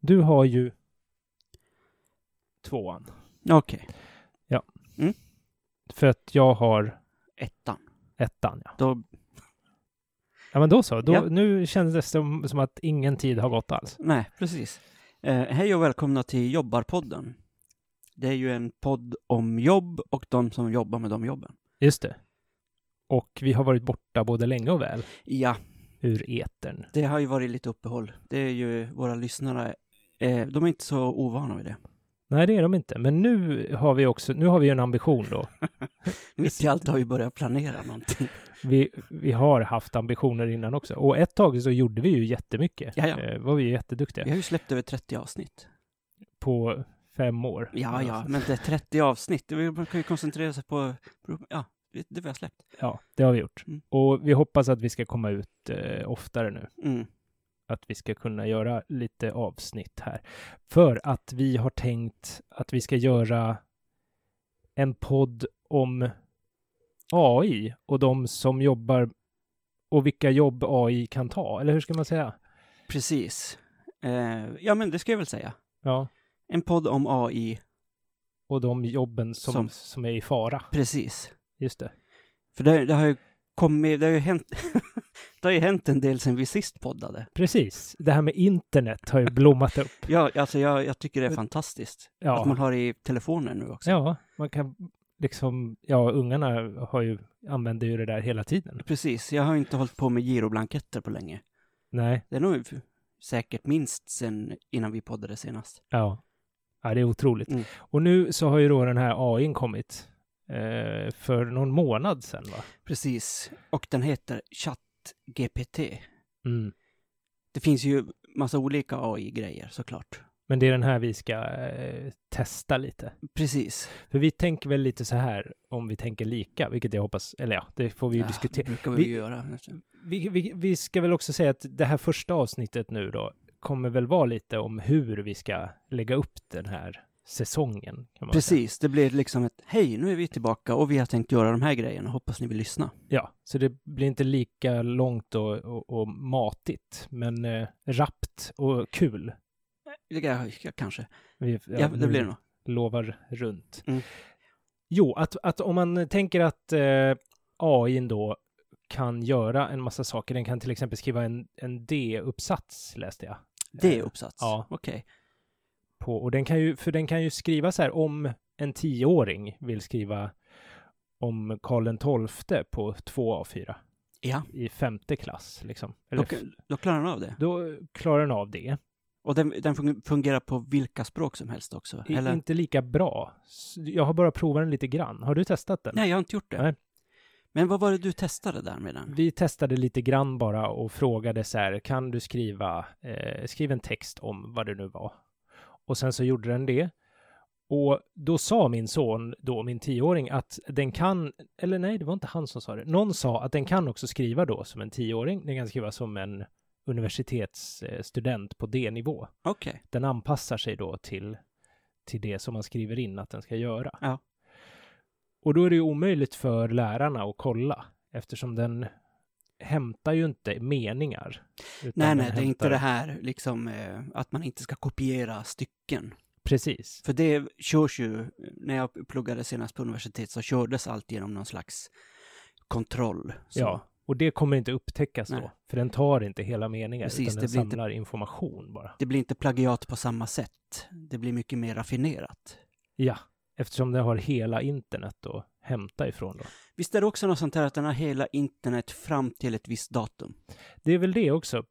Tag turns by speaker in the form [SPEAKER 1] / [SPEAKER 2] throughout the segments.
[SPEAKER 1] Du har ju tvåan.
[SPEAKER 2] Okej.
[SPEAKER 1] För att jag har
[SPEAKER 2] Ettan.
[SPEAKER 1] ettan. Ja,
[SPEAKER 2] Då,
[SPEAKER 1] ja men då så. Då,
[SPEAKER 2] Ja.
[SPEAKER 1] Nu kändes det som, som att ingen tid har gått alls.
[SPEAKER 2] nej, precis. Eh, hej och välkomna till Jobbarpodden. Det är ju en podd om jobb och de som jobbar med de jobben.
[SPEAKER 1] Just det. Och vi har varit borta både länge och väl
[SPEAKER 2] Ja,
[SPEAKER 1] ur etern.
[SPEAKER 2] det har ju varit lite uppehåll. Det är ju våra lyssnare, eh, de är inte så ovana vid det.
[SPEAKER 1] Nej, det är de inte. Men nu har vi också, nu har vi ju en ambition då.
[SPEAKER 2] Mitt i allt har vi börjat planera någonting.
[SPEAKER 1] Vi, vi har haft ambitioner innan också. Och ett tag så gjorde vi ju jättemycket.
[SPEAKER 2] Jaja.
[SPEAKER 1] Eh, var vi ju jätteduktiga
[SPEAKER 2] Vi har ju släppt över 30 avsnitt.
[SPEAKER 1] på fem år.
[SPEAKER 2] Ja, ja, men det är 30 avsnitt. Det- Man kan ju koncentrera sig på, ja, det det vi har släppt.
[SPEAKER 1] Ja, det har vi gjort.
[SPEAKER 2] Mm.
[SPEAKER 1] Och vi hoppas att vi ska komma ut eh, oftare nu.
[SPEAKER 2] Mm.
[SPEAKER 1] Att vi ska kunna göra lite avsnitt här. För att vi har tänkt att vi ska göra en podd om AI och de som jobbar och vilka jobb AI kan ta. Eller hur ska man säga?
[SPEAKER 2] Precis. Eh, ja, men det ska jag väl säga.
[SPEAKER 1] Ja,
[SPEAKER 2] En podd om AI,
[SPEAKER 1] och de jobben som, som.
[SPEAKER 2] Som-
[SPEAKER 1] är i fara.
[SPEAKER 2] precis.
[SPEAKER 1] Just det.
[SPEAKER 2] För det, det har ju kommit, det har ju hänt, det har ju hänt en del sen vi sist poddade.
[SPEAKER 1] Precis. Det här med internet har ju blommat upp.
[SPEAKER 2] Ja, alltså jag, jag tycker det är fantastiskt. Att man
[SPEAKER 1] Ja,
[SPEAKER 2] har det i telefonen nu också.
[SPEAKER 1] ja man kan liksom, ja, ungarna har ju, använder ju det där hela tiden.
[SPEAKER 2] Precis, jag har inte hållit på med giroblanketter på länge.
[SPEAKER 1] Nej,
[SPEAKER 2] Det är nog f- säkert minst sen innan vi poddade senast.
[SPEAKER 1] ja. Ja, det är otroligt.
[SPEAKER 2] Mm.
[SPEAKER 1] Och nu så har ju då den här AIn kommit eh, för någon månad sedan, va?
[SPEAKER 2] Precis, och den heter ChatGPT.
[SPEAKER 1] Mm.
[SPEAKER 2] Det finns ju massa olika AI-grejer såklart.
[SPEAKER 1] Men det är den här vi ska eh, testa lite.
[SPEAKER 2] Precis.
[SPEAKER 1] För vi tänker väl lite så här, om vi tänker lika, vilket jag hoppas, eller ja, det får vi ju
[SPEAKER 2] Ja,
[SPEAKER 1] diskutera.
[SPEAKER 2] Det brukar vi,
[SPEAKER 1] Vi-
[SPEAKER 2] ju göra.
[SPEAKER 1] Vi, vi, vi ska väl också säga att det här första avsnittet nu då kommer väl vara lite om hur vi ska lägga upp den här säsongen. Kan man Säga.
[SPEAKER 2] Precis, det blir liksom ett hej, nu är vi tillbaka och vi har tänkt göra de här grejerna, hoppas ni vill lyssna.
[SPEAKER 1] Ja, så det blir inte lika långt och, och, och matigt, men eh, rappt och kul.
[SPEAKER 2] Det kan- ja, kanske.
[SPEAKER 1] Vi, ja,
[SPEAKER 2] Ja, det
[SPEAKER 1] nu eh,
[SPEAKER 2] blir det nog.
[SPEAKER 1] Lovar runt.
[SPEAKER 2] Mm.
[SPEAKER 1] Jo, att, att om man tänker att eh, AI då kan göra en massa saker. Den kan till exempel skriva en, en D-uppsats, läste jag.
[SPEAKER 2] Det är uppsats.
[SPEAKER 1] ja.
[SPEAKER 2] Okej.
[SPEAKER 1] på. Och den kan ju, för den kan ju skriva så här om en tioåring vill skriva om Karl XII på 2 av 4
[SPEAKER 2] Ja,
[SPEAKER 1] i femte klass liksom. Eller,
[SPEAKER 2] då, då klarar den av det.
[SPEAKER 1] Då klarar den av det.
[SPEAKER 2] Och den, den fun- fungerar på vilka språk som helst också.
[SPEAKER 1] I,
[SPEAKER 2] Eller?
[SPEAKER 1] Inte lika bra. S- Jag har bara provat den lite grann. Har du testat den?
[SPEAKER 2] Nej, jag har inte gjort det.
[SPEAKER 1] Nej.
[SPEAKER 2] Men vad var det du testade där med den?
[SPEAKER 1] Vi testade lite grann bara och frågade så här, kan du skriva, eh, skriv en text om vad det nu var. Och sen så gjorde den det. Och då sa min son, då min tioåring, att den kan, eller nej, det var inte han som sa det. Någon sa att den kan också skriva då som en tioåring. Den kan skriva som en universitetsstudent på D-nivå.
[SPEAKER 2] Okej.
[SPEAKER 1] Den anpassar sig då till, till det som man skriver in att den ska göra.
[SPEAKER 2] Ja.
[SPEAKER 1] Och då är det ju omöjligt för lärarna att kolla eftersom den hämtar ju inte meningar. utan
[SPEAKER 2] Nej,
[SPEAKER 1] den
[SPEAKER 2] nej, det är inte
[SPEAKER 1] hämtar-
[SPEAKER 2] det här liksom eh, att man inte ska kopiera stycken.
[SPEAKER 1] Precis.
[SPEAKER 2] För det körs ju, när jag pluggade senast på universitet så kördes allt genom någon slags kontroll. Så.
[SPEAKER 1] Ja, och det kommer inte upptäckas då,
[SPEAKER 2] Nej.
[SPEAKER 1] för den tar inte hela meningar
[SPEAKER 2] Precis,
[SPEAKER 1] utan den
[SPEAKER 2] det blir inte-
[SPEAKER 1] samlar information bara.
[SPEAKER 2] Det blir inte plagiat på samma sätt. Det blir mycket mer raffinerat.
[SPEAKER 1] Ja, eftersom den har hela internet att hämta ifrån då.
[SPEAKER 2] Visst är det också något sånt här att den har hela internet fram till ett visst datum?
[SPEAKER 1] Det är väl det också.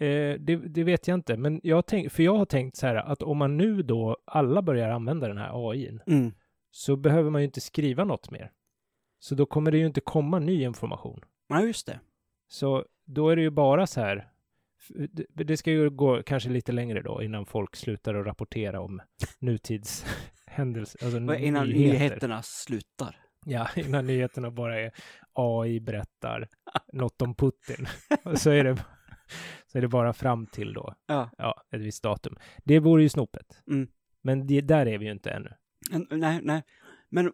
[SPEAKER 1] Eh, det, det vet jag inte, men jag tänk, för jag har tänkt så här att om man nu då alla börjar använda den här AIn
[SPEAKER 2] Mm.
[SPEAKER 1] så behöver man ju inte skriva något mer. Så då kommer det ju inte komma ny information.
[SPEAKER 2] Ja, just det.
[SPEAKER 1] Så då är det ju bara så här. f- det- Det ska ju gå kanske lite längre då innan folk slutar att rapportera om nutidshändelser. Alltså
[SPEAKER 2] Och Innan
[SPEAKER 1] nyheter.
[SPEAKER 2] nyheterna slutar.
[SPEAKER 1] Ja, innan nyheterna bara är AI berättar något om Putin. Och så är det, så är det bara fram till då,
[SPEAKER 2] Ja.
[SPEAKER 1] ja, ett visst datum. Det vore ju snopet.
[SPEAKER 2] Mm.
[SPEAKER 1] Men det, där är vi ju inte ännu.
[SPEAKER 2] En- Nej, nej. Men eh,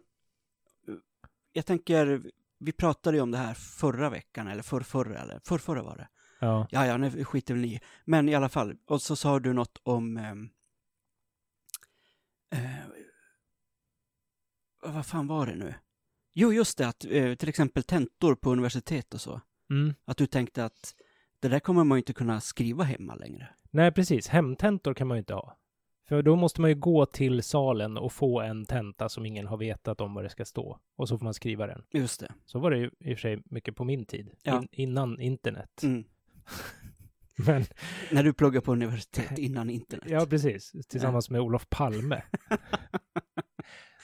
[SPEAKER 2] jag tänker, vi pratade ju om det här förra veckan, eller förrförra, eller förrförra var det.
[SPEAKER 1] Ja.
[SPEAKER 2] Ja, ja, nu skiter väl ni i. Men i alla fall, och så sa du något om... ehm, Eh, vad fan var det nu? Jo, just det, att eh, till exempel tentor på universitet och så.
[SPEAKER 1] Mm.
[SPEAKER 2] Att du tänkte att det där kommer man ju inte kunna skriva hemma längre.
[SPEAKER 1] Nej, precis. Hemtentor kan man ju inte ha. För då måste man ju gå till salen och få en tenta som ingen har vetat om vad det ska stå. Och så får man skriva den.
[SPEAKER 2] Just det.
[SPEAKER 1] Så var det ju i och för sig mycket på min tid.
[SPEAKER 2] Ja.
[SPEAKER 1] In, innan internet.
[SPEAKER 2] Mm.
[SPEAKER 1] Men,
[SPEAKER 2] När du pluggar på universitet innan internet.
[SPEAKER 1] ja, precis. Tillsammans med Olof Palme.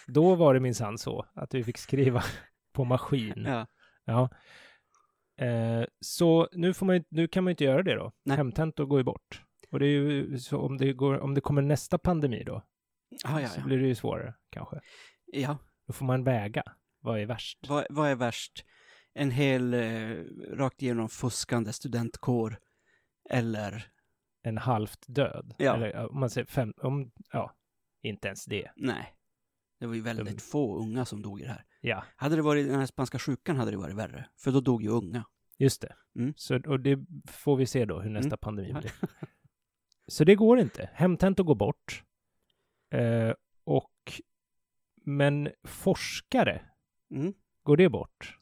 [SPEAKER 1] Då var det minsann så att vi fick skriva på maskin.
[SPEAKER 2] Ja.
[SPEAKER 1] Ja. Eh, så nu, får man, ju- nu kan man ju inte göra det då.
[SPEAKER 2] Nej.
[SPEAKER 1] Hemtentor går ju bort. Och det är ju, så om, det går, om det kommer nästa pandemi då,
[SPEAKER 2] Ah, ja,
[SPEAKER 1] så
[SPEAKER 2] ja.
[SPEAKER 1] blir det ju svårare kanske.
[SPEAKER 2] ja.
[SPEAKER 1] Då får man väga. Vad är värst?
[SPEAKER 2] Vad, vad är värst? En hel eh, rakt igenom fuskande studentkår eller
[SPEAKER 1] En halvt död?
[SPEAKER 2] Ja.
[SPEAKER 1] Eller eh, om man säger fem, om, ja, inte ens det.
[SPEAKER 2] nej. Det var ju väldigt
[SPEAKER 1] Mm.
[SPEAKER 2] få unga som dog i det här.
[SPEAKER 1] Ja,
[SPEAKER 2] Hade det varit den här spanska sjukan hade det varit värre, för då dog ju unga.
[SPEAKER 1] just det.
[SPEAKER 2] Mm.
[SPEAKER 1] Så, och det får vi se då hur nästa
[SPEAKER 2] Mm.
[SPEAKER 1] pandemi blir. Så det går inte. Hemtentor går bort. Eh, och, men forskare,
[SPEAKER 2] Mm.
[SPEAKER 1] går det bort?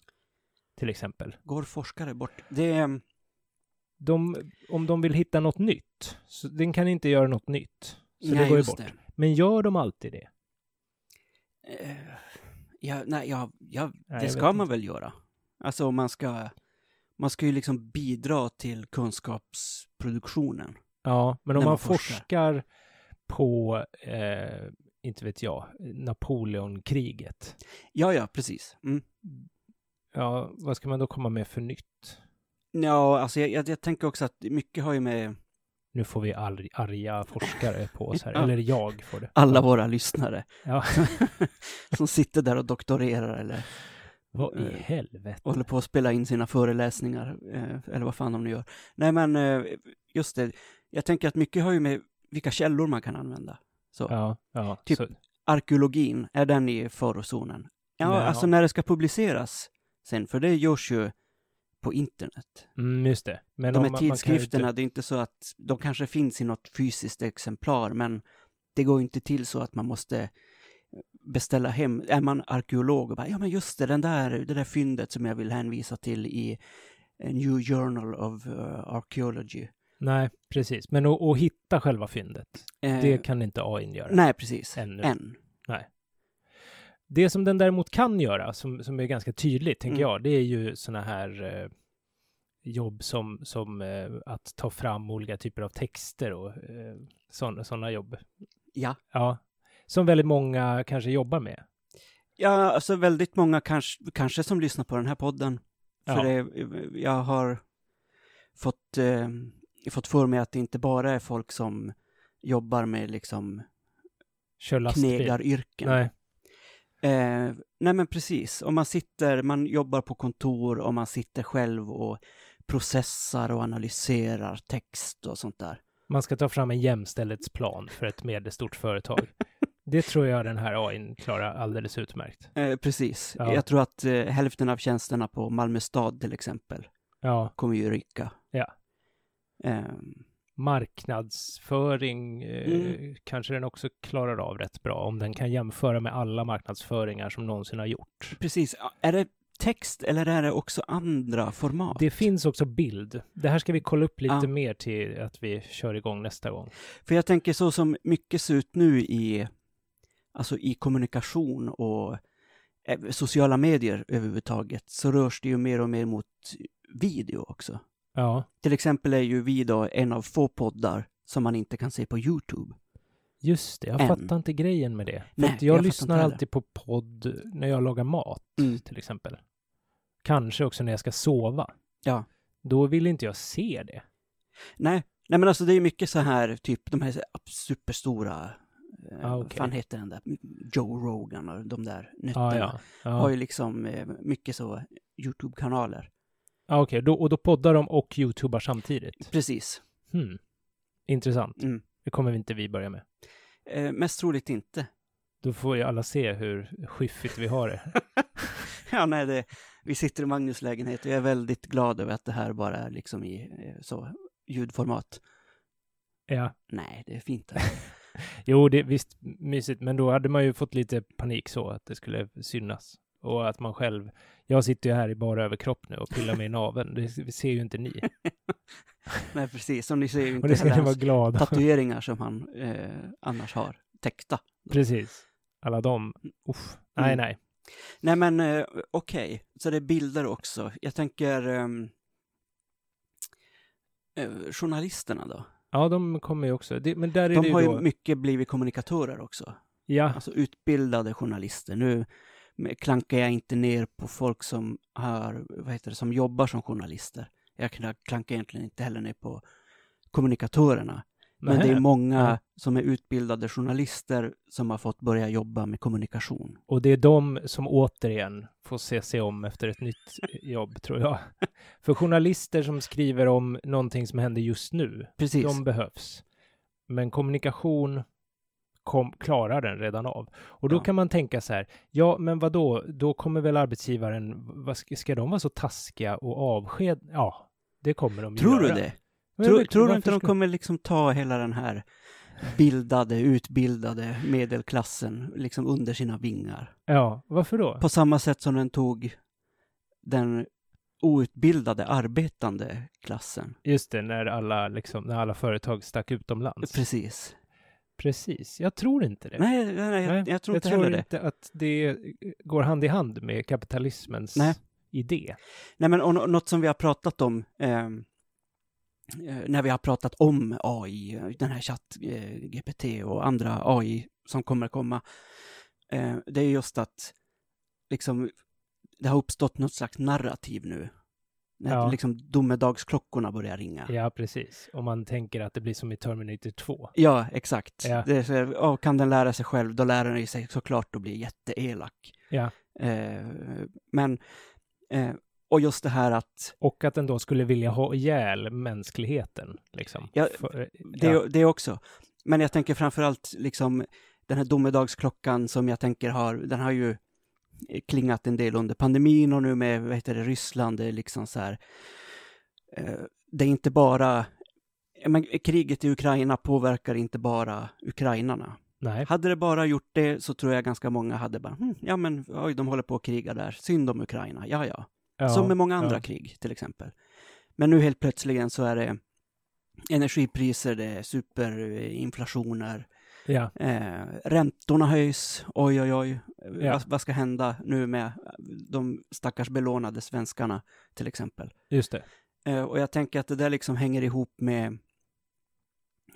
[SPEAKER 1] Till exempel.
[SPEAKER 2] Går forskare bort? Mm. Det är,
[SPEAKER 1] de, om de vill hitta något nytt, så den kan inte göra något nytt. Så
[SPEAKER 2] nej,
[SPEAKER 1] det går ju
[SPEAKER 2] just
[SPEAKER 1] bort. Men gör de alltid det?
[SPEAKER 2] det. Eh, ja, nej, ja, ja,
[SPEAKER 1] Nej,
[SPEAKER 2] det
[SPEAKER 1] jag
[SPEAKER 2] ska
[SPEAKER 1] vet
[SPEAKER 2] man
[SPEAKER 1] inte.
[SPEAKER 2] väl göra. Alltså om man ska, man ska ju liksom bidra till kunskapsproduktionen.
[SPEAKER 1] Ja, men om
[SPEAKER 2] När
[SPEAKER 1] man,
[SPEAKER 2] man
[SPEAKER 1] forskar,
[SPEAKER 2] forskar.
[SPEAKER 1] på, eh, inte vet jag, Napoleonkriget.
[SPEAKER 2] Ja, ja, precis. Mm.
[SPEAKER 1] Ja, vad ska man då komma med för nytt?
[SPEAKER 2] Ja, alltså jag, jag, jag tänker också att mycket har ju med
[SPEAKER 1] Nu får vi arg, arga forskare på oss här,
[SPEAKER 2] Ja.
[SPEAKER 1] eller jag får det.
[SPEAKER 2] alla våra lyssnare
[SPEAKER 1] Ja,
[SPEAKER 2] som sitter där och doktorerar eller
[SPEAKER 1] vad i
[SPEAKER 2] Eh,
[SPEAKER 1] helvete.
[SPEAKER 2] håller på att spela in sina föreläsningar eh, eller vad fan de nu gör. Nej, men eh, just det. Jag tänker att mycket har ju med vilka källor man kan använda. Så
[SPEAKER 1] Ja, ja.
[SPEAKER 2] Typ-
[SPEAKER 1] Så,
[SPEAKER 2] arkeologin, är den i farozonen? Ja,
[SPEAKER 1] Nej,
[SPEAKER 2] alltså
[SPEAKER 1] ja.
[SPEAKER 2] när det ska publiceras sen, för det görs ju på internet.
[SPEAKER 1] mm, just det. Men
[SPEAKER 2] De
[SPEAKER 1] om man-
[SPEAKER 2] här
[SPEAKER 1] man kan ju
[SPEAKER 2] tidskrifterna,
[SPEAKER 1] inte-
[SPEAKER 2] det är inte så att de kanske finns i något fysiskt exemplar, men det går ju inte till så att man måste beställa hem. Är man arkeolog och bara, ja men just det, den där, det där fyndet som jag vill hänvisa till i eh, New Journal of eh, Archaeology.
[SPEAKER 1] Nej, precis. Men att, att hitta själva fyndet,
[SPEAKER 2] Eh,
[SPEAKER 1] det kan inte AI göra.
[SPEAKER 2] Nej, precis.
[SPEAKER 1] Ännu.
[SPEAKER 2] Än.
[SPEAKER 1] Det som den däremot kan göra, som, som är ganska tydligt, tänker
[SPEAKER 2] Mm.
[SPEAKER 1] jag, det är ju sådana här eh, jobb som, som eh, att ta fram olika typer av texter och eh, sådana jobb.
[SPEAKER 2] Ja.
[SPEAKER 1] Ja, som väldigt många kanske jobbar med.
[SPEAKER 2] Ja, alltså väldigt många kanske, kanske som lyssnar på den här podden.
[SPEAKER 1] Ja.
[SPEAKER 2] För det, jag har fått, eh, fått för mig att det inte bara är folk som jobbar med liksom
[SPEAKER 1] Kör lastbil.
[SPEAKER 2] knegaryrken.
[SPEAKER 1] Nej,
[SPEAKER 2] Eh, nej men precis, om man sitter, man jobbar på kontor och man sitter själv och processar och analyserar text och sånt där.
[SPEAKER 1] man ska ta fram en jämställdhetsplan för ett medelstort företag. det tror jag den här AI klarar alldeles utmärkt.
[SPEAKER 2] Eh, precis,
[SPEAKER 1] Ja.
[SPEAKER 2] jag tror att eh, hälften av tjänsterna på Malmö stad till exempel
[SPEAKER 1] Ja,
[SPEAKER 2] kommer ju ryka.
[SPEAKER 1] Ja.
[SPEAKER 2] Ehm,
[SPEAKER 1] marknadsföring eh,
[SPEAKER 2] Mm.
[SPEAKER 1] kanske den också klarar av rätt bra om den kan jämföra med alla marknadsföringar som någonsin har gjort.
[SPEAKER 2] Precis. Är det text eller är det också andra format?
[SPEAKER 1] Det finns också bild. Det här ska vi kolla upp lite
[SPEAKER 2] Ja.
[SPEAKER 1] mer till att vi kör igång nästa gång.
[SPEAKER 2] För jag tänker så som mycket ser ut nu i, alltså i kommunikation och eh, sociala medier överhuvudtaget, så rörs det ju mer och mer mot video också.
[SPEAKER 1] Ja,
[SPEAKER 2] Till exempel är ju vi då en av få poddar som man inte kan se på YouTube.
[SPEAKER 1] just det. Jag
[SPEAKER 2] Än.
[SPEAKER 1] fattar inte grejen med det. För
[SPEAKER 2] Nej,
[SPEAKER 1] att jag,
[SPEAKER 2] jag fattar
[SPEAKER 1] lyssnar
[SPEAKER 2] inte heller.
[SPEAKER 1] alltid på podd när jag lagar mat,
[SPEAKER 2] Mm.
[SPEAKER 1] till exempel. Kanske också när jag ska sova.
[SPEAKER 2] Ja.
[SPEAKER 1] Då vill inte jag se det.
[SPEAKER 2] Nej, nej men alltså det är mycket så här, typ de här så här superstora, eh,
[SPEAKER 1] Ah,
[SPEAKER 2] vad
[SPEAKER 1] okej. Ah,
[SPEAKER 2] fan heter den där, Joe Rogan och de där nötterna.
[SPEAKER 1] Ja, ja.
[SPEAKER 2] har
[SPEAKER 1] ja.
[SPEAKER 2] ju liksom eh, mycket så YouTube-kanaler.
[SPEAKER 1] ja Ah, okej. Då, och då poddar de och youtubar samtidigt.
[SPEAKER 2] Precis.
[SPEAKER 1] Hmm. Intressant.
[SPEAKER 2] Mm.
[SPEAKER 1] Det kommer vi inte vi börja med.
[SPEAKER 2] Eh, mest troligt inte.
[SPEAKER 1] Då får ju alla se hur skiffigt vi har det.
[SPEAKER 2] Ja, nej, det, vi sitter i Magnus lägenhet och jag är väldigt glad över att det här bara är liksom i eh, så, ljudformat.
[SPEAKER 1] Ja,
[SPEAKER 2] Nej, det är fint.
[SPEAKER 1] jo, det visst mysigt, men då hade man ju fått lite panik så att det skulle synas och att man själv. Jag sitter ju här i bara överkropp nu och pillar mig i naveln. Det ser ju inte ni
[SPEAKER 2] nej, precis. Som ni ser ju
[SPEAKER 1] och
[SPEAKER 2] inte
[SPEAKER 1] det ska
[SPEAKER 2] heller
[SPEAKER 1] ni vara
[SPEAKER 2] hans
[SPEAKER 1] glada.
[SPEAKER 2] tatueringar som han eh, annars har täckta.
[SPEAKER 1] Precis. Alla de. Uff. Nej,
[SPEAKER 2] Mm.
[SPEAKER 1] nej.
[SPEAKER 2] Nej, men eh, okej. Så det är bilder också. Jag tänker ehm, eh, journalisterna då.
[SPEAKER 1] Ja, de kommer ju också. Det, men där är det
[SPEAKER 2] De
[SPEAKER 1] ju
[SPEAKER 2] har
[SPEAKER 1] då.
[SPEAKER 2] ju mycket blivit kommunikatörer också.
[SPEAKER 1] Ja,
[SPEAKER 2] Alltså utbildade journalister. Nu med- klankar jag inte ner på folk som, har, vad heter det, som jobbar som journalister. Jag kna- klankar egentligen inte heller ner på kommunikatörerna. Men det
[SPEAKER 1] nähä.
[SPEAKER 2] är många
[SPEAKER 1] Ja.
[SPEAKER 2] som är utbildade journalister som har fått börja jobba med kommunikation.
[SPEAKER 1] Och det är de som återigen får se sig om efter ett nytt eh, jobb, tror jag. För journalister som skriver om någonting som händer just nu,
[SPEAKER 2] Precis.
[SPEAKER 1] de behövs. Men kommunikation kom, klarar den redan av. Och då
[SPEAKER 2] Ja.
[SPEAKER 1] kan man tänka så här, ja, men vad då? Då kommer väl arbetsgivaren, vad ska, ska de vara så taskiga och avsked? Ja, det kommer de ju
[SPEAKER 2] Tror du
[SPEAKER 1] göra.
[SPEAKER 2] det?
[SPEAKER 1] Men
[SPEAKER 2] Tror,
[SPEAKER 1] varför
[SPEAKER 2] tror du inte de
[SPEAKER 1] ska-
[SPEAKER 2] kommer liksom ta hela den här bildade, utbildade medelklassen liksom under sina vingar?
[SPEAKER 1] Ja, varför då?
[SPEAKER 2] På samma sätt som den tog den outbildade arbetande klassen.
[SPEAKER 1] Just det, när alla, liksom, när alla företag stack utomlands.
[SPEAKER 2] Precis.
[SPEAKER 1] Precis, jag tror inte det.
[SPEAKER 2] Nej, nej, nej,
[SPEAKER 1] Nej,
[SPEAKER 2] jag, jag tror inte heller det.
[SPEAKER 1] att det eh, går hand i hand med kapitalismens
[SPEAKER 2] Nej.
[SPEAKER 1] idé.
[SPEAKER 2] Nej, men och, nå- något som vi har pratat om ehm, eh, när vi har pratat om AI, eh, den här chatt eh, GPT och andra AI som kommer komma, eh, det är just att liksom, det har uppstått något slags narrativ nu. När
[SPEAKER 1] Ja.
[SPEAKER 2] liksom domedagsklockorna börjar ringa. Ja,
[SPEAKER 1] Ja, precis. Om man tänker att det blir som i Terminator 2.
[SPEAKER 2] exakt.
[SPEAKER 1] Ja.
[SPEAKER 2] Det är så, här, "Åh, kan den lära sig själv, då lär den ju sig såklart att bli jätteelak.
[SPEAKER 1] Ja.
[SPEAKER 2] Eh, men, eh, och just det här att
[SPEAKER 1] Och att den då skulle vilja ha ihjäl mänskligheten, liksom.
[SPEAKER 2] Ja,
[SPEAKER 1] För,
[SPEAKER 2] Det,
[SPEAKER 1] ja.
[SPEAKER 2] det också. Men jag tänker framförallt liksom den här domedagsklockan som jag tänker har, den har ju eh, klingat en del under pandemin och nu med, vad heter det, Ryssland, det är liksom så här, eh, det är inte bara, ja, men kriget i Ukraina påverkar inte bara ukrainarna.
[SPEAKER 1] Nej,
[SPEAKER 2] Hade det bara gjort det så tror jag ganska många hade bara, hm, ja men oj, de håller på att kriga där, synd om Ukraina, ja ja.
[SPEAKER 1] ja,
[SPEAKER 2] Som med många andra
[SPEAKER 1] ja.
[SPEAKER 2] krig till exempel. Men nu helt plötsligen så är det energipriser, det är superinflationer,
[SPEAKER 1] Ja,
[SPEAKER 2] eh, räntorna höjs, oj oj oj, Eh,
[SPEAKER 1] Ja.
[SPEAKER 2] vad, vad ska hända nu med de stackars belånade svenskarna till exempel.
[SPEAKER 1] just det.
[SPEAKER 2] Eh, och jag tänker att det där liksom hänger ihop med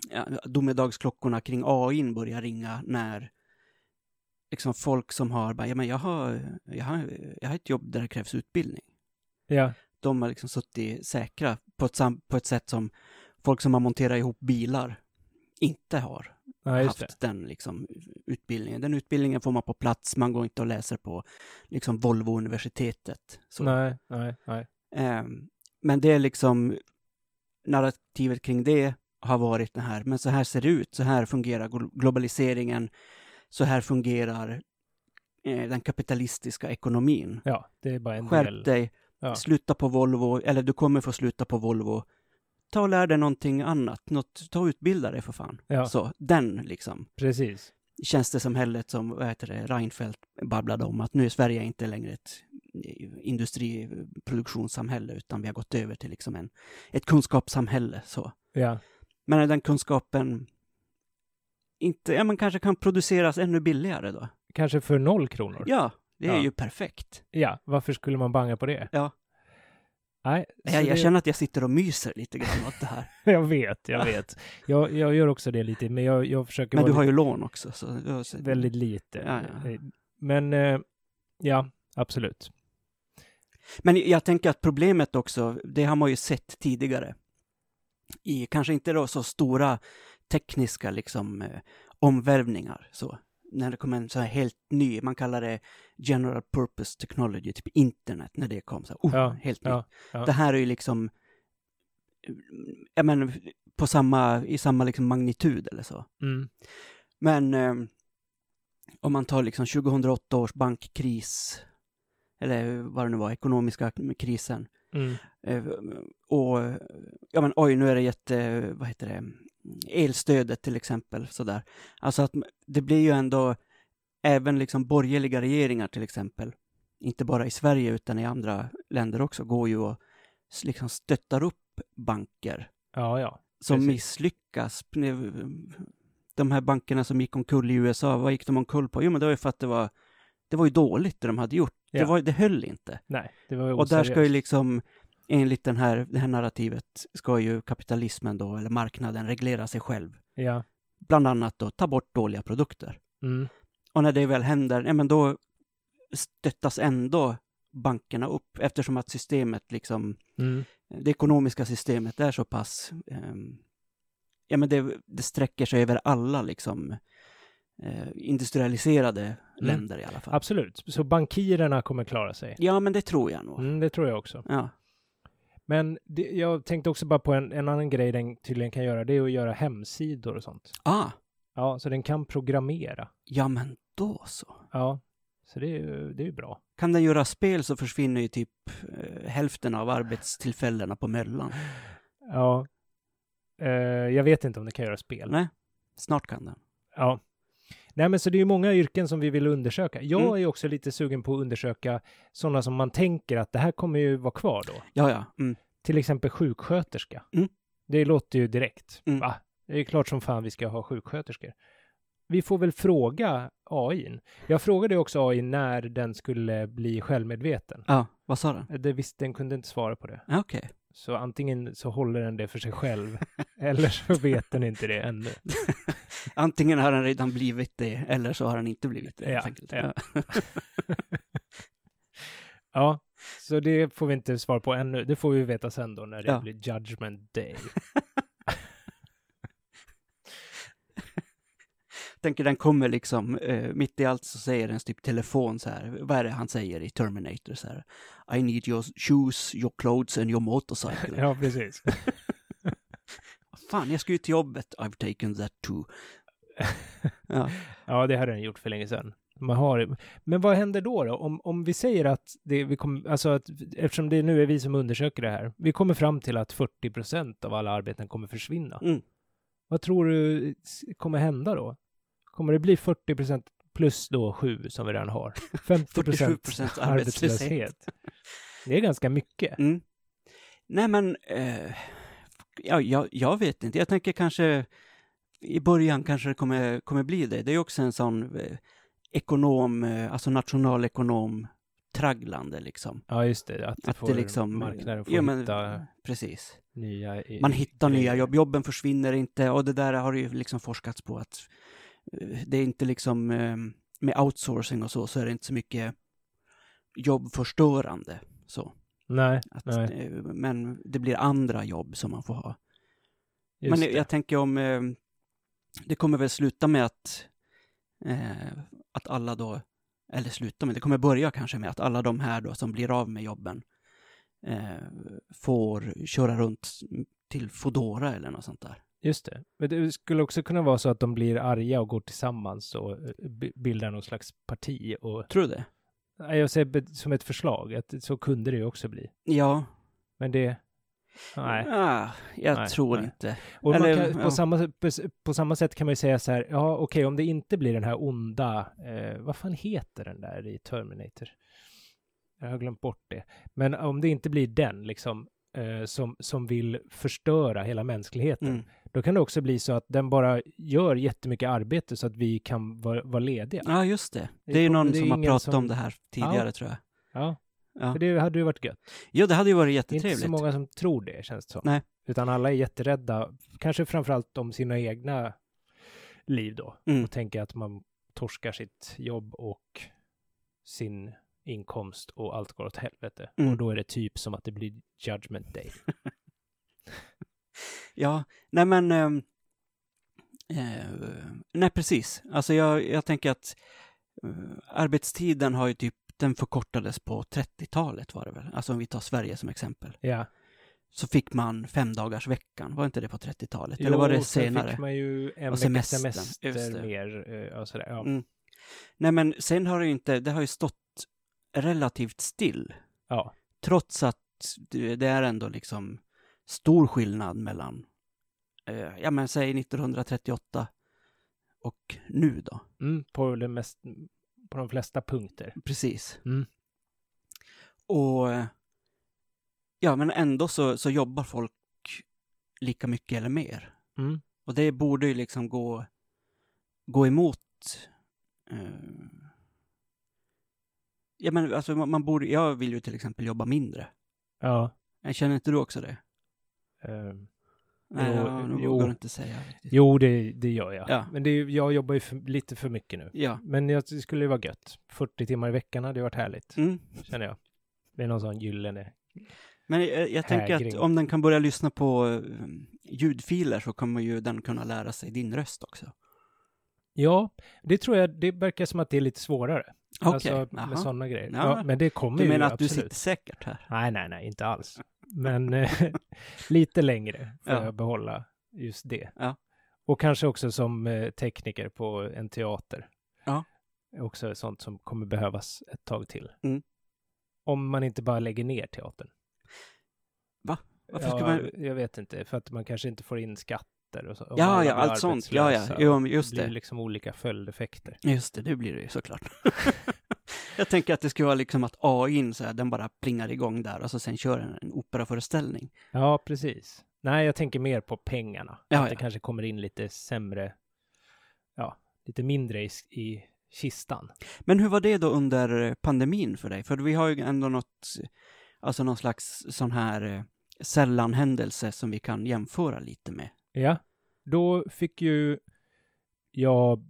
[SPEAKER 2] ja, domedagsklockorna kring AI börjar ringa när liksom folk som har, bara, ja men jag har, jag har, jag har ett jobb där det krävs utbildning
[SPEAKER 1] Ja,
[SPEAKER 2] de har liksom suttit säkra på ett, sam- på ett sätt som folk som har monterat ihop bilar inte har
[SPEAKER 1] ja just
[SPEAKER 2] haft
[SPEAKER 1] det.
[SPEAKER 2] den liksom utbildningen. Den utbildningen får man på plats, man går inte och läser på liksom Volvo-universitetet. Så.
[SPEAKER 1] Nej, nej, nej.
[SPEAKER 2] Ehm, men det är liksom, narrativet kring det har varit det här, men så här ser det ut, så här fungerar glo- globaliseringen, så här fungerar eh, den kapitalistiska ekonomin.
[SPEAKER 1] Ja, det är bara en
[SPEAKER 2] Skärp
[SPEAKER 1] del.
[SPEAKER 2] dig,
[SPEAKER 1] Ja.
[SPEAKER 2] sluta på Volvo, eller du kommer få sluta på Volvo. Ta och lär dig någonting annat, något, ta och utbilda dig för fan.
[SPEAKER 1] Ja,
[SPEAKER 2] Så, den liksom,
[SPEAKER 1] precis.
[SPEAKER 2] känns det som helhet som, vad heter det, Reinfeldt babblade om, att nu är Sverige inte längre ett eh, industriproduktionssamhälle, utan vi har gått över till liksom en, ett kunskapssamhälle. Så.
[SPEAKER 1] Ja,
[SPEAKER 2] Men den kunskapen inte, ja, man kanske kan produceras ännu billigare då.
[SPEAKER 1] kanske för noll kronor.
[SPEAKER 2] Ja, det är
[SPEAKER 1] Ja.
[SPEAKER 2] ju perfekt.
[SPEAKER 1] Ja, varför skulle man banga på det?
[SPEAKER 2] Ja.
[SPEAKER 1] Nej, så
[SPEAKER 2] Jag, jag
[SPEAKER 1] det-
[SPEAKER 2] känner att jag sitter och myser lite grann åt det här.
[SPEAKER 1] Jag vet, jag vet. Jag, jag gör också det lite, men jag, jag försöker
[SPEAKER 2] Men
[SPEAKER 1] vara
[SPEAKER 2] du har ju lån också. Så, så,
[SPEAKER 1] lite, väldigt lite.
[SPEAKER 2] Ja, ja.
[SPEAKER 1] Eh, Men eh, ja, absolut.
[SPEAKER 2] Men jag tänker att problemet också, det har man ju sett tidigare. I kanske inte då så stora tekniska liksom, eh, omvärvningar. Så. När det kom en så här helt ny, man kallar det general purpose technology, typ internet, när det kom. Så här, oh,
[SPEAKER 1] Ja,
[SPEAKER 2] helt
[SPEAKER 1] ja,
[SPEAKER 2] nytt.
[SPEAKER 1] ja.
[SPEAKER 2] Det här är ju liksom, eh, ja men på samma, i samma liksom magnitud eller så. ehm,
[SPEAKER 1] Mm.
[SPEAKER 2] Men eh, om man tar liksom 2008 års bankkris, eller vad det nu var, ekonomiska krisen.
[SPEAKER 1] Mm.
[SPEAKER 2] Eh, Och, ja men oj, nu är det jätte, vad heter det, elstödet till exempel, sådär. Alltså att det blir ju ändå, även liksom borgerliga regeringar till exempel, inte bara i Sverige utan i andra länder också, går ju och s- liksom stöttar upp banker
[SPEAKER 1] Ja, ja.
[SPEAKER 2] som
[SPEAKER 1] Precis.
[SPEAKER 2] misslyckas. eh, De här bankerna som gick omkull i USA, vad gick de omkull på? Jo, men det var ju för att det var, det var ju dåligt det de hade gjort. Det,
[SPEAKER 1] Ja.
[SPEAKER 2] var, det höll inte.
[SPEAKER 1] Nej, det var ju
[SPEAKER 2] Och där ska ju
[SPEAKER 1] oseriöst.
[SPEAKER 2] liksom, enligt den här, det här narrativet, ska ju kapitalismen då, eller marknaden, reglera sig själv.
[SPEAKER 1] Ja.
[SPEAKER 2] Bland annat då, ta bort dåliga produkter.
[SPEAKER 1] Mm.
[SPEAKER 2] Och när det väl händer, ja men då stöttas ändå bankerna upp eftersom att systemet liksom,
[SPEAKER 1] Mm.
[SPEAKER 2] det ekonomiska systemet är så pass, ehm, ja men det, det sträcker sig över alla liksom eh, industrialiserade
[SPEAKER 1] Mm.
[SPEAKER 2] länder i alla fall.
[SPEAKER 1] Absolut. Så bankirerna kommer klara sig.
[SPEAKER 2] Ja men det tror jag nog.
[SPEAKER 1] Mm, det tror jag också.
[SPEAKER 2] Ja.
[SPEAKER 1] Men det, jag tänkte också bara på en, en annan grej den tydligen kan göra. Det är att göra hemsidor och sånt.
[SPEAKER 2] Ah,
[SPEAKER 1] Ja, så den kan programmera.
[SPEAKER 2] ja men då så.
[SPEAKER 1] Ja, så det är ju, det är ju bra.
[SPEAKER 2] Kan den göra spel så försvinner ju typ eh, hälften av arbetstillfällena på Möllan.
[SPEAKER 1] Ja. Eh, jag vet inte om det kan göra spel.
[SPEAKER 2] Nej. Snart kan den.
[SPEAKER 1] Ja. Nej, men så det är ju många yrken som vi vill undersöka. Jag
[SPEAKER 2] Mm.
[SPEAKER 1] är också lite sugen på att undersöka sådana som man tänker att det här kommer ju vara kvar då.
[SPEAKER 2] Ja, ja. Mm.
[SPEAKER 1] Till exempel sjuksköterska.
[SPEAKER 2] Mm.
[SPEAKER 1] Det låter ju direkt.
[SPEAKER 2] Mm.
[SPEAKER 1] Va? Det är klart som fan vi ska ha sjuksköterskor. Vi får väl fråga AIn. Jag frågade ju också AI när den skulle bli självmedveten.
[SPEAKER 2] Ja, vad sa den?
[SPEAKER 1] Det visste den kunde inte svara på det.
[SPEAKER 2] Ja, Okej.
[SPEAKER 1] Så antingen så håller den det för sig själv eller så vet den inte det ännu.
[SPEAKER 2] Antingen har han redan blivit det, eller så har han inte blivit det.
[SPEAKER 1] Ja,
[SPEAKER 2] helt enkelt.
[SPEAKER 1] ja. Ja, så det får vi inte svar på ännu. Det får vi veta sen då när det
[SPEAKER 2] Ja.
[SPEAKER 1] blir judgment day.
[SPEAKER 2] tänker den kommer liksom, eh, mitt i allt så säger den typ telefon så här, vad är det han säger i Terminator så här? I need your shoes, your clothes and your motorcycle.
[SPEAKER 1] Ja, precis.
[SPEAKER 2] Fan, jag ska ju till jobbet. I've taken that too. ja.
[SPEAKER 1] Ja, det hade den gjort för länge sedan. Man har, men vad händer då? då? Om, om vi säger att, det, vi kom, alltså att, eftersom det nu är vi som undersöker det här, vi kommer fram till att 40 procent av alla arbeten kommer försvinna.
[SPEAKER 2] Mm.
[SPEAKER 1] Vad tror du s- kommer hända då? Kommer det bli 40 procent plus då 7 som vi redan har? 50
[SPEAKER 2] 47
[SPEAKER 1] procent
[SPEAKER 2] procent arbetslöshet.
[SPEAKER 1] arbetslöshet. Det är ganska mycket.
[SPEAKER 2] Mm. Nej men, eh, ja, jag, jag vet inte. Jag tänker kanske, i början kanske det kommer, kommer bli det. Det är ju också en sån eh, ekonom, eh, alltså nationalekonom, tragglande liksom.
[SPEAKER 1] Ja, just det. Att,
[SPEAKER 2] Att
[SPEAKER 1] får,
[SPEAKER 2] det liksom...
[SPEAKER 1] marknaden får
[SPEAKER 2] Ja, men-
[SPEAKER 1] hitta
[SPEAKER 2] Precis.
[SPEAKER 1] nya... i-
[SPEAKER 2] Man hittar nya
[SPEAKER 1] grejer.
[SPEAKER 2] jobb, jobben försvinner inte och det där har ju liksom forskats på att eh, det är inte liksom eh, med outsourcing och så, så är det inte så mycket jobbförstörande så.
[SPEAKER 1] Nej,
[SPEAKER 2] Att,
[SPEAKER 1] Nej.
[SPEAKER 2] eh, men det blir andra jobb som man får ha.
[SPEAKER 1] just
[SPEAKER 2] men
[SPEAKER 1] det.
[SPEAKER 2] jag tänker om eh, det kommer väl sluta med att eh, att alla då, eller sluta med, det kommer börja kanske med att alla de här då som blir av med jobben eh, får köra runt till Fodora eller något sånt där.
[SPEAKER 1] Just det. Men det skulle också kunna vara så att de blir arga och går tillsammans och eh, bi- bildar någon slags parti. Och,
[SPEAKER 2] Tror du det?
[SPEAKER 1] Nej, jag säger be- som ett förslag, att så kunde det ju också bli.
[SPEAKER 2] Ja.
[SPEAKER 1] Men det... Nej.
[SPEAKER 2] Ah, jag
[SPEAKER 1] Nej,
[SPEAKER 2] tror
[SPEAKER 1] nej.
[SPEAKER 2] inte.
[SPEAKER 1] Och
[SPEAKER 2] Eller,
[SPEAKER 1] man kan,
[SPEAKER 2] ja.
[SPEAKER 1] på, samma, sätt- på, s- på samma sätt kan man ju säga så här, ja okej, om det inte blir den här onda, eh, vad fan heter den där i Terminator? Jag har glömt bort det. Men om det inte blir den, liksom, eh, som, som vill förstöra hela mänskligheten,
[SPEAKER 2] Mm.
[SPEAKER 1] då kan det också bli så att den bara gör jättemycket arbete så att vi kan vara, vara lediga.
[SPEAKER 2] Ja, just det.
[SPEAKER 1] Det
[SPEAKER 2] Det är ju
[SPEAKER 1] kommer-
[SPEAKER 2] någon
[SPEAKER 1] det är
[SPEAKER 2] som har
[SPEAKER 1] ingen
[SPEAKER 2] pratat
[SPEAKER 1] som-
[SPEAKER 2] om det här tidigare, tror jag.
[SPEAKER 1] Ja,
[SPEAKER 2] Ja.
[SPEAKER 1] för det hade ju varit gött.
[SPEAKER 2] ja, det hade ju varit
[SPEAKER 1] Det är inte
[SPEAKER 2] jättetrevligt.
[SPEAKER 1] så många som tror det, känns det som.
[SPEAKER 2] Nej.
[SPEAKER 1] Utan alla är jätterädda, kanske framförallt om sina egna liv då.
[SPEAKER 2] Mm.
[SPEAKER 1] Och tänker att man torskar sitt jobb och sin inkomst och allt går åt helvete.
[SPEAKER 2] Mm.
[SPEAKER 1] Och då är det typ som att det blir judgment day.
[SPEAKER 2] Ja, nej men... ehm, eh, nej, precis. Alltså jag, jag tänker att eh, arbetstiden har ju typ, den förkortades på 30-talet var det väl? Alltså om vi tar Sverige som exempel.
[SPEAKER 1] Ja.
[SPEAKER 2] Så fick man fem dagars veckan, var inte det på 30-talet? Eller var det
[SPEAKER 1] och sen
[SPEAKER 2] senare?
[SPEAKER 1] fick man ju en
[SPEAKER 2] Och
[SPEAKER 1] vecka
[SPEAKER 2] semestern, just
[SPEAKER 1] semester
[SPEAKER 2] det.
[SPEAKER 1] mer eh, och sådär. Ja.
[SPEAKER 2] Mm. Nej men sen har det ju inte, det har ju stått relativt still.
[SPEAKER 1] Ja.
[SPEAKER 2] Trots att det det är ändå liksom stor skillnad mellan, eh, ja men säg 1938 och nu då.
[SPEAKER 1] Mm, på, det mest, på de flesta punkter.
[SPEAKER 2] Precis.
[SPEAKER 1] Mm.
[SPEAKER 2] Och eh, ja, men ändå så, så jobbar folk lika mycket eller mer.
[SPEAKER 1] Mm.
[SPEAKER 2] Och det borde ju liksom gå, gå emot... Eh, ja, men alltså man, man borde... Jag vill ju till exempel jobba mindre.
[SPEAKER 1] Ja.
[SPEAKER 2] Jag känner inte du också det?
[SPEAKER 1] eh,
[SPEAKER 2] Nej,
[SPEAKER 1] Jo,
[SPEAKER 2] jag, nu
[SPEAKER 1] jo.
[SPEAKER 2] går det inte att säga. riktigt.
[SPEAKER 1] jo, det, det gör jag.
[SPEAKER 2] Ja.
[SPEAKER 1] Men det, är- jag jobbar ju för, lite för mycket nu.
[SPEAKER 2] Ja.
[SPEAKER 1] Men jag, det skulle ju vara gött. 40 timmar i veckan hade ju varit härligt,
[SPEAKER 2] Mm.
[SPEAKER 1] känner jag. Det är någon sån gyllene...
[SPEAKER 2] Men eh, jag, jag tänker att
[SPEAKER 1] Hägring.
[SPEAKER 2] om den kan börja lyssna på eh, ljudfiler så kommer ju den kunna lära sig din röst också.
[SPEAKER 1] Ja, det tror jag, det verkar som att det är lite svårare.
[SPEAKER 2] Okej.
[SPEAKER 1] Alltså
[SPEAKER 2] Jaha.
[SPEAKER 1] med sådana grejer.
[SPEAKER 2] Ja.
[SPEAKER 1] Ja. men det kommer
[SPEAKER 2] du
[SPEAKER 1] ju
[SPEAKER 2] menar att du
[SPEAKER 1] absolut.
[SPEAKER 2] sitter säkert här?
[SPEAKER 1] Nej, nej, nej, inte alls. Men eh, lite längre får
[SPEAKER 2] Ja.
[SPEAKER 1] jag behålla just det.
[SPEAKER 2] Ja.
[SPEAKER 1] Och kanske också som eh, tekniker på en teater.
[SPEAKER 2] Ja.
[SPEAKER 1] Också sånt som kommer behövas ett tag till.
[SPEAKER 2] Mm.
[SPEAKER 1] Om man inte bara lägger ner teatern.
[SPEAKER 2] Varför
[SPEAKER 1] ja,
[SPEAKER 2] ska man...
[SPEAKER 1] Jag vet inte, för att man kanske inte får in skatter och så. om
[SPEAKER 2] Ja,
[SPEAKER 1] alla
[SPEAKER 2] ja,
[SPEAKER 1] blir
[SPEAKER 2] allt sånt. Ja, ja,
[SPEAKER 1] arbetslösa.
[SPEAKER 2] jo, men just
[SPEAKER 1] det blir
[SPEAKER 2] det.
[SPEAKER 1] liksom olika följdeffekter.
[SPEAKER 2] Just det, det blir det ju såklart. jag tänker att det skulle vara liksom att AIn så här, den bara plingar igång där och så sen kör en, en operaföreställning.
[SPEAKER 1] Ja, precis. Nej, jag tänker mer på pengarna.
[SPEAKER 2] Ja,
[SPEAKER 1] att det
[SPEAKER 2] ja.
[SPEAKER 1] kanske kommer in lite sämre, ja, lite mindre i, i kistan.
[SPEAKER 2] Men hur var det då under pandemin för dig? För vi har ju ändå något, alltså någon slags sån här eh, sällanhändelse som vi kan jämföra lite med.
[SPEAKER 1] Ja, då fick ju jag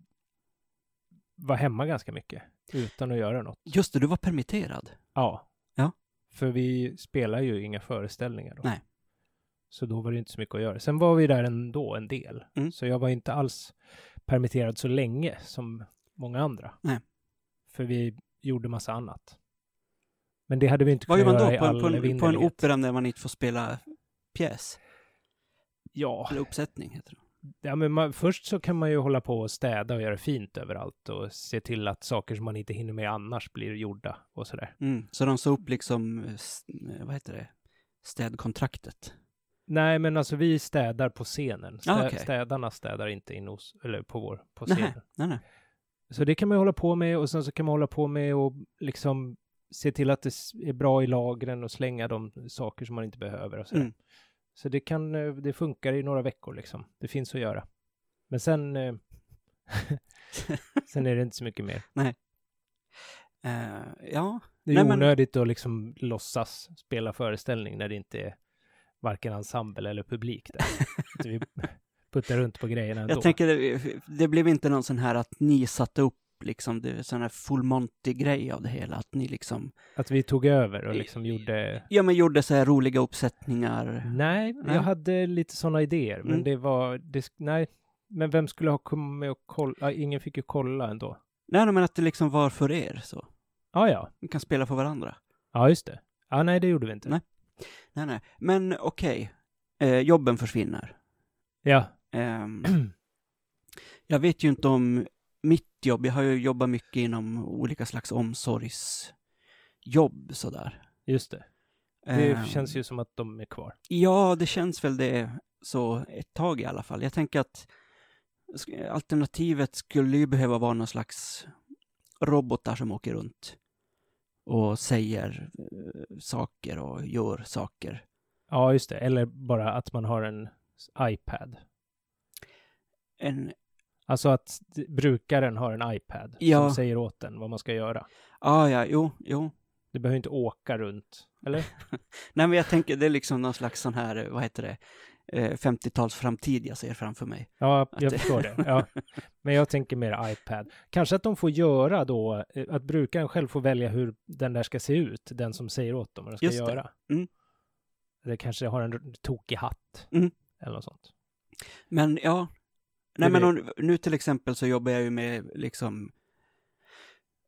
[SPEAKER 1] vara hemma ganska mycket utan att göra något.
[SPEAKER 2] Just det, du var permitterad.
[SPEAKER 1] Ja.
[SPEAKER 2] Ja.
[SPEAKER 1] För vi spelar ju inga föreställningar då.
[SPEAKER 2] Nej.
[SPEAKER 1] Så då var det inte så mycket att göra. Sen var vi där ändå en del.
[SPEAKER 2] Mm.
[SPEAKER 1] Så jag var inte alls permitterad så länge som många andra.
[SPEAKER 2] Nej.
[SPEAKER 1] För vi gjorde massa annat. Men det hade vi inte
[SPEAKER 2] Vad gör
[SPEAKER 1] kunnat
[SPEAKER 2] man
[SPEAKER 1] göra
[SPEAKER 2] då
[SPEAKER 1] i
[SPEAKER 2] på
[SPEAKER 1] all
[SPEAKER 2] en, på en, på en
[SPEAKER 1] evinnerlighet.
[SPEAKER 2] opera när man inte får spela pjäs?
[SPEAKER 1] Ja,
[SPEAKER 2] Eller uppsättning heter det.
[SPEAKER 1] ja men man, först så kan man ju hålla på och städa och göra fint överallt och se till att saker som man inte hinner med annars blir gjorda och sådär.
[SPEAKER 2] Mm. Så de sa upp liksom, eh, s- eh, vad heter det, städkontraktet.
[SPEAKER 1] Nej, men alltså vi städar på scenen. Stä,
[SPEAKER 2] Ah, okej.
[SPEAKER 1] Städarna städar inte in hos, eller på vår, på
[SPEAKER 2] Nej.
[SPEAKER 1] scenen.
[SPEAKER 2] Nej, nej.
[SPEAKER 1] Så det kan man ju hålla på med och sen så kan man hålla på med och liksom se till att det s- är bra i lagren och slänga de saker som man inte behöver och sådär.
[SPEAKER 2] Mm.
[SPEAKER 1] Så det kan, eh, det funkar i några veckor liksom. Det finns att göra. Men sen, eh, sen är det inte så mycket mer.
[SPEAKER 2] Eh, ja,
[SPEAKER 1] Det är
[SPEAKER 2] Nej,
[SPEAKER 1] ju
[SPEAKER 2] men-
[SPEAKER 1] onödigt att liksom låtsas spela föreställning när det inte är varken ensemble eller publik där. Så vi puttar runt på grejerna ändå.
[SPEAKER 2] jag tänker det, det blev inte någon sån här att ni satte upp liksom, det är sån här full monty-grej av det hela, att ni liksom,
[SPEAKER 1] Att vi tog över och liksom gjorde...
[SPEAKER 2] ja men gjorde så här roliga uppsättningar.
[SPEAKER 1] Nej,
[SPEAKER 2] Nej.
[SPEAKER 1] jag hade lite sådana idéer, men
[SPEAKER 2] Mm.
[SPEAKER 1] det var... Det, sk- nej, men vem skulle ha kommit och kolla? Ja, Ingen fick ju kolla ändå.
[SPEAKER 2] Nej, men att det liksom var för er så.
[SPEAKER 1] Ja, ja.
[SPEAKER 2] Ni kan spela för varandra.
[SPEAKER 1] Ja, just det. Ja, nej, det gjorde vi inte.
[SPEAKER 2] Nej. Nej, nej. Men okej, eh, jobben försvinner.
[SPEAKER 1] Ja,
[SPEAKER 2] Ehm, jag vet ju inte om mitt jobb, jag har ju jobbat mycket inom olika slags omsorgsjobb sådär.
[SPEAKER 1] just det. Det
[SPEAKER 2] Ehm,
[SPEAKER 1] känns ju som att de är kvar.
[SPEAKER 2] Ja, det känns väl det så ett tag i alla fall. Jag tänker att sk- alternativet skulle ju behöva vara någon slags robotar som åker runt och säger eh, saker och gör saker.
[SPEAKER 1] Ja, just det. Eller bara att man har en s- iPad.
[SPEAKER 2] En,
[SPEAKER 1] Alltså att d- brukaren har en iPad
[SPEAKER 2] Ja.
[SPEAKER 1] som säger åt den vad man ska göra.
[SPEAKER 2] ah, ja, jo, jo.
[SPEAKER 1] Du behöver inte åka runt, eller?
[SPEAKER 2] Nej, men jag tänker det är liksom någon slags sån här, eh, vad heter det, eh, 50-tals framtid jag ser framför mig.
[SPEAKER 1] Ja,
[SPEAKER 2] det-
[SPEAKER 1] jag förstår det. Ja. Men jag tänker mer iPad. Kanske att de får göra då, eh, att brukaren själv får välja hur den där ska se ut, den som säger åt dem vad den ska
[SPEAKER 2] Just det.
[SPEAKER 1] göra.
[SPEAKER 2] Mm.
[SPEAKER 1] Eller kanske har en r- tokig hatt,
[SPEAKER 2] Mm.
[SPEAKER 1] eller något sånt.
[SPEAKER 2] Men ja, nej
[SPEAKER 1] Det
[SPEAKER 2] men
[SPEAKER 1] är-
[SPEAKER 2] om, nu till exempel så jobbar jag ju med liksom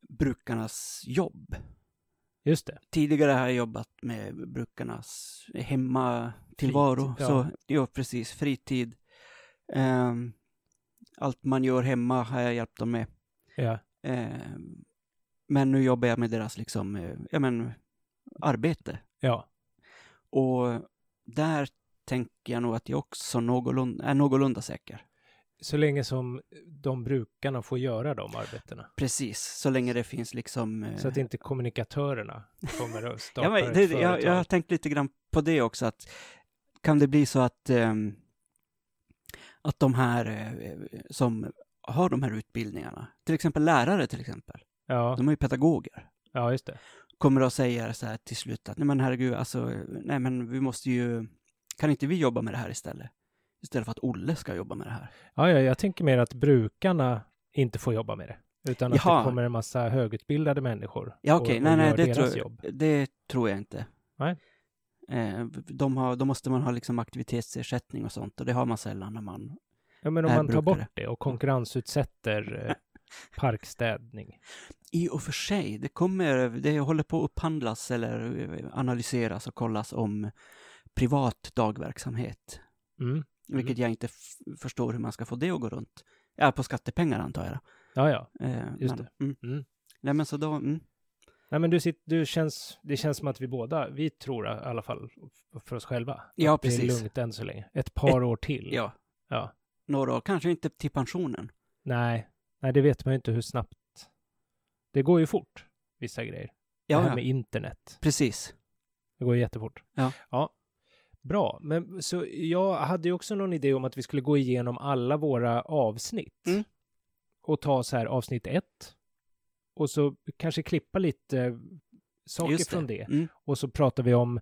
[SPEAKER 2] brukarnas jobb.
[SPEAKER 1] Just det.
[SPEAKER 2] Tidigare har jag jobbat med brukarnas hemmatillvaro.
[SPEAKER 1] Fritid, ja.
[SPEAKER 2] Så, ja, precis, fritid. Ehm, allt man gör hemma har jag hjälpt dem med.
[SPEAKER 1] Ja.
[SPEAKER 2] Ehm, Men nu jobbar jag med deras liksom, eh, ja men, arbete.
[SPEAKER 1] Ja,
[SPEAKER 2] Och där tänker jag nog att jag också någorlunda, är någorlunda säker.
[SPEAKER 1] så länge som de brukarna får göra de arbetena.
[SPEAKER 2] Precis, så länge det finns liksom... eh,
[SPEAKER 1] Så att inte kommunikatörerna kommer att starta
[SPEAKER 2] ja, men det,
[SPEAKER 1] ett företag.
[SPEAKER 2] jag, jag har tänkt lite grann på det också, att kan det bli så att, ehm, att de här eh, som har de här utbildningarna, till exempel lärare till exempel,
[SPEAKER 1] ja,
[SPEAKER 2] de är ju pedagoger,
[SPEAKER 1] ja, just det.
[SPEAKER 2] kommer att säga så här till slut att nej men herregud, alltså, nej men vi måste ju, kan inte vi jobba med det här istället? Istället för att Olle ska jobba med det här.
[SPEAKER 1] Ja, ja, jag tänker mer att brukarna inte får jobba med det, utan att
[SPEAKER 2] Jaha.
[SPEAKER 1] det kommer en massa högutbildade människor
[SPEAKER 2] Ja, okej.
[SPEAKER 1] och,
[SPEAKER 2] Nej,
[SPEAKER 1] och
[SPEAKER 2] nej,
[SPEAKER 1] gör
[SPEAKER 2] det
[SPEAKER 1] deras
[SPEAKER 2] tror-
[SPEAKER 1] jobb.
[SPEAKER 2] Det tror jag inte.
[SPEAKER 1] Nej.
[SPEAKER 2] Eh, de har, då måste man ha liksom aktivitetsersättning och sånt och det har man sällan när man...
[SPEAKER 1] Ja, men om
[SPEAKER 2] är
[SPEAKER 1] man tar bort
[SPEAKER 2] brukare.
[SPEAKER 1] det och konkurrensutsätter eh, parkstädning.
[SPEAKER 2] I och för sig, det kommer, det håller på att upphandlas eller eh, analyseras och kollas om privat dagverksamhet.
[SPEAKER 1] Mm.
[SPEAKER 2] Vilket jag inte f- förstår hur man ska få det att gå runt. Ja, på skattepengar antar jag.
[SPEAKER 1] Ja, ja.
[SPEAKER 2] Eh,
[SPEAKER 1] Just
[SPEAKER 2] men, Mm.
[SPEAKER 1] Mm.
[SPEAKER 2] Nej, men så då... Mm.
[SPEAKER 1] Nej, men du, sit, du känns, det känns som att vi båda, vi tror i alla fall f- för oss själva.
[SPEAKER 2] Ja,
[SPEAKER 1] att Det är
[SPEAKER 2] precis. Eh,
[SPEAKER 1] lugnt än så länge. Ett par år till.
[SPEAKER 2] Ja.
[SPEAKER 1] Ja.
[SPEAKER 2] Några år, kanske inte till pensionen.
[SPEAKER 1] Nej, nej, det vet man ju inte hur snabbt. Det går ju fort, vissa grejer. det här
[SPEAKER 2] Ja,
[SPEAKER 1] med
[SPEAKER 2] ja.
[SPEAKER 1] internet.
[SPEAKER 2] precis.
[SPEAKER 1] Det går ju jättefort.
[SPEAKER 2] Ja.
[SPEAKER 1] ja. Bra, men så jag hade ju också någon idé om att vi skulle gå igenom alla våra avsnitt.
[SPEAKER 2] Mm.
[SPEAKER 1] Och ta så här avsnitt ett. Och så kanske klippa lite saker
[SPEAKER 2] Just
[SPEAKER 1] från det.
[SPEAKER 2] Mm.
[SPEAKER 1] Och så pratar vi om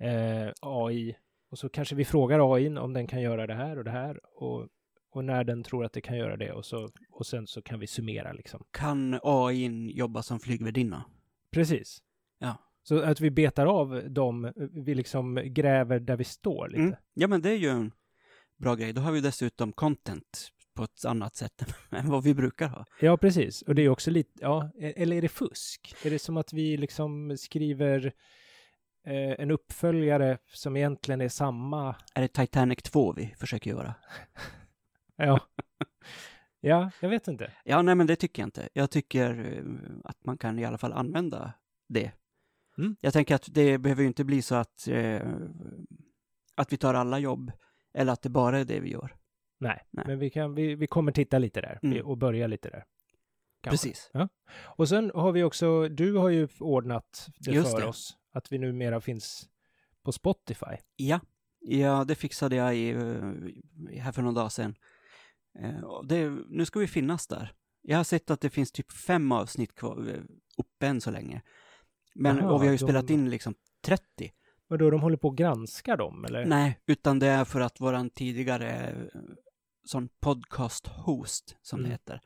[SPEAKER 1] eh, AI. Och så kanske vi frågar AI n om den kan göra det här och det här. Och, och när den tror att det kan göra det. Och, så, och sen så kan vi summera liksom.
[SPEAKER 2] Kan AI jobba som flygvärdinna?
[SPEAKER 1] Precis.
[SPEAKER 2] Ja.
[SPEAKER 1] Så att vi betar av dem, vi liksom gräver där vi står lite.
[SPEAKER 2] Mm. Ja, men det är ju en bra grej. Då har vi dessutom content på ett annat sätt än vad vi brukar ha.
[SPEAKER 1] Ja, precis. Och det är också lite, ja, e- eller är det fusk? Är det som att vi liksom skriver eh, en uppföljare som egentligen är samma?
[SPEAKER 2] Är det Titanic 2 vi försöker göra?
[SPEAKER 1] Ja, ja jag vet inte.
[SPEAKER 2] Ja, nej, men det tycker jag inte. Jag tycker eh, att man kan i alla fall använda det.
[SPEAKER 1] Mm.
[SPEAKER 2] Jag tänker att det behöver ju inte bli så att, eh, att vi tar alla jobb eller att det bara är det vi gör.
[SPEAKER 1] Nej,
[SPEAKER 2] Nej.
[SPEAKER 1] men vi, kan, vi, vi kommer titta lite där
[SPEAKER 2] Mm.
[SPEAKER 1] vi- och börja lite där. Kanske.
[SPEAKER 2] Precis.
[SPEAKER 1] Och sen har vi också, du har ju ordnat det
[SPEAKER 2] Just
[SPEAKER 1] för
[SPEAKER 2] det.
[SPEAKER 1] oss, att vi numera finns på Spotify.
[SPEAKER 2] Ja, ja det fixade jag i, eh, här för någon dag sedan. Eh, och Det, nu ska vi finnas där. Jag har sett att det finns typ fem avsnitt kvar, eh, uppe än så länge. Men,
[SPEAKER 1] Jaha,
[SPEAKER 2] och vi har ju
[SPEAKER 1] de-
[SPEAKER 2] spelat in liksom 30.
[SPEAKER 1] Vadå, de håller på att granska dem, eller?
[SPEAKER 2] Nej, utan det är för att våran tidigare eh, sån podcast host, som
[SPEAKER 1] Mm.
[SPEAKER 2] det heter,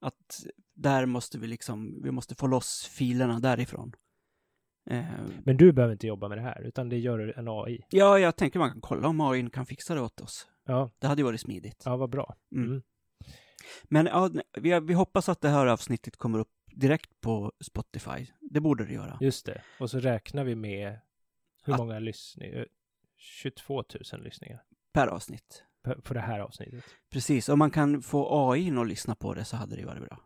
[SPEAKER 2] att där måste vi liksom, vi måste få loss filerna därifrån. Eh,
[SPEAKER 1] Men du behöver inte jobba med det här, utan det gör en AI.
[SPEAKER 2] ja, jag tänker man kan kolla om AI kan fixa det åt oss.
[SPEAKER 1] Ja,
[SPEAKER 2] Det hade ju varit smidigt.
[SPEAKER 1] ja vad bra.
[SPEAKER 2] Mm.
[SPEAKER 1] Mm.
[SPEAKER 2] Men ja, ne- vi, har- vi hoppas att det här avsnittet kommer upp direkt på Spotify. Det borde det göra.
[SPEAKER 1] Just det. Och så räknar vi med hur
[SPEAKER 2] Att-
[SPEAKER 1] många lyssningar? 22 000 lyssningar
[SPEAKER 2] Per avsnitt.
[SPEAKER 1] på- på det här avsnittet.
[SPEAKER 2] Precis, om man kan få AI att lyssna på det så hade det varit bra.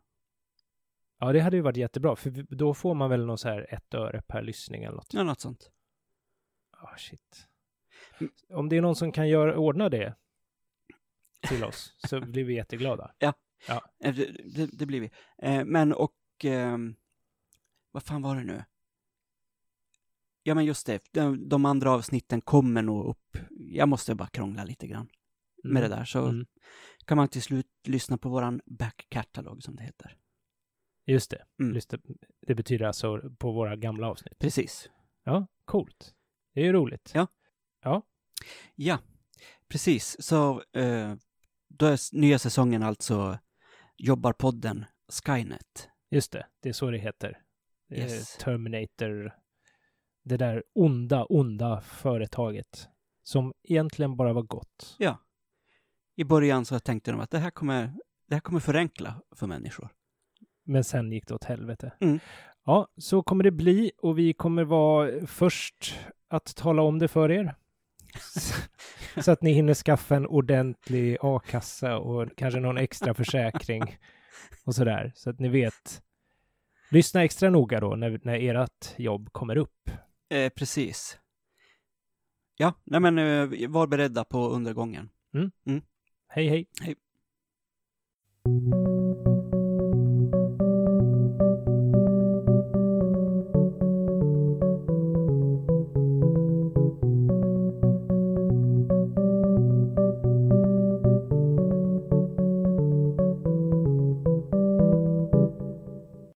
[SPEAKER 1] Ja, det hade ju varit jättebra, för vi- då får man väl någon så här ett öre per lyssning eller något.
[SPEAKER 2] Ja, något sånt.
[SPEAKER 1] Ah, shit.
[SPEAKER 2] Mm.
[SPEAKER 1] Om det är någon som kan göra, ordna det till oss så blir vi jätteglada.
[SPEAKER 2] Eh, Det, det, det blir vi. Eh, Men och... ehm, vad fan var det nu? Ja, men just det. De, de andra avsnitten kommer nog upp. Jag måste bara krångla lite grann
[SPEAKER 1] Mm.
[SPEAKER 2] med det där. Så
[SPEAKER 1] Mm.
[SPEAKER 2] kan man till slut lyssna på våran back catalog som det heter.
[SPEAKER 1] Just det.
[SPEAKER 2] Mm.
[SPEAKER 1] Just det. Det betyder alltså på våra gamla avsnitt.
[SPEAKER 2] Precis.
[SPEAKER 1] Ja, coolt. Det är ju roligt.
[SPEAKER 2] Ja. Ja, precis. Så eh, då är s- nya säsongen alltså Jobbarpodden Skynet.
[SPEAKER 1] Just det, det är så det heter. Eh,
[SPEAKER 2] Yes.
[SPEAKER 1] Terminator, det där onda, onda företaget som egentligen bara var gott.
[SPEAKER 2] I början så tänkte de att det här kommer, det här kommer förenkla för människor.
[SPEAKER 1] Men sen gick det åt helvete.
[SPEAKER 2] Mm.
[SPEAKER 1] Ja, så kommer det bli och vi kommer vara först att tala om det för er. så att ni hinner skaffa en ordentlig a-kassa och kanske någon extra försäkring och sådär. Så att ni vet Lyssna extra noga då när, när ert jobb kommer upp.
[SPEAKER 2] Eh, precis. Ja, nej men eh, var beredda på undergången.
[SPEAKER 1] Hej hej!
[SPEAKER 2] Hej.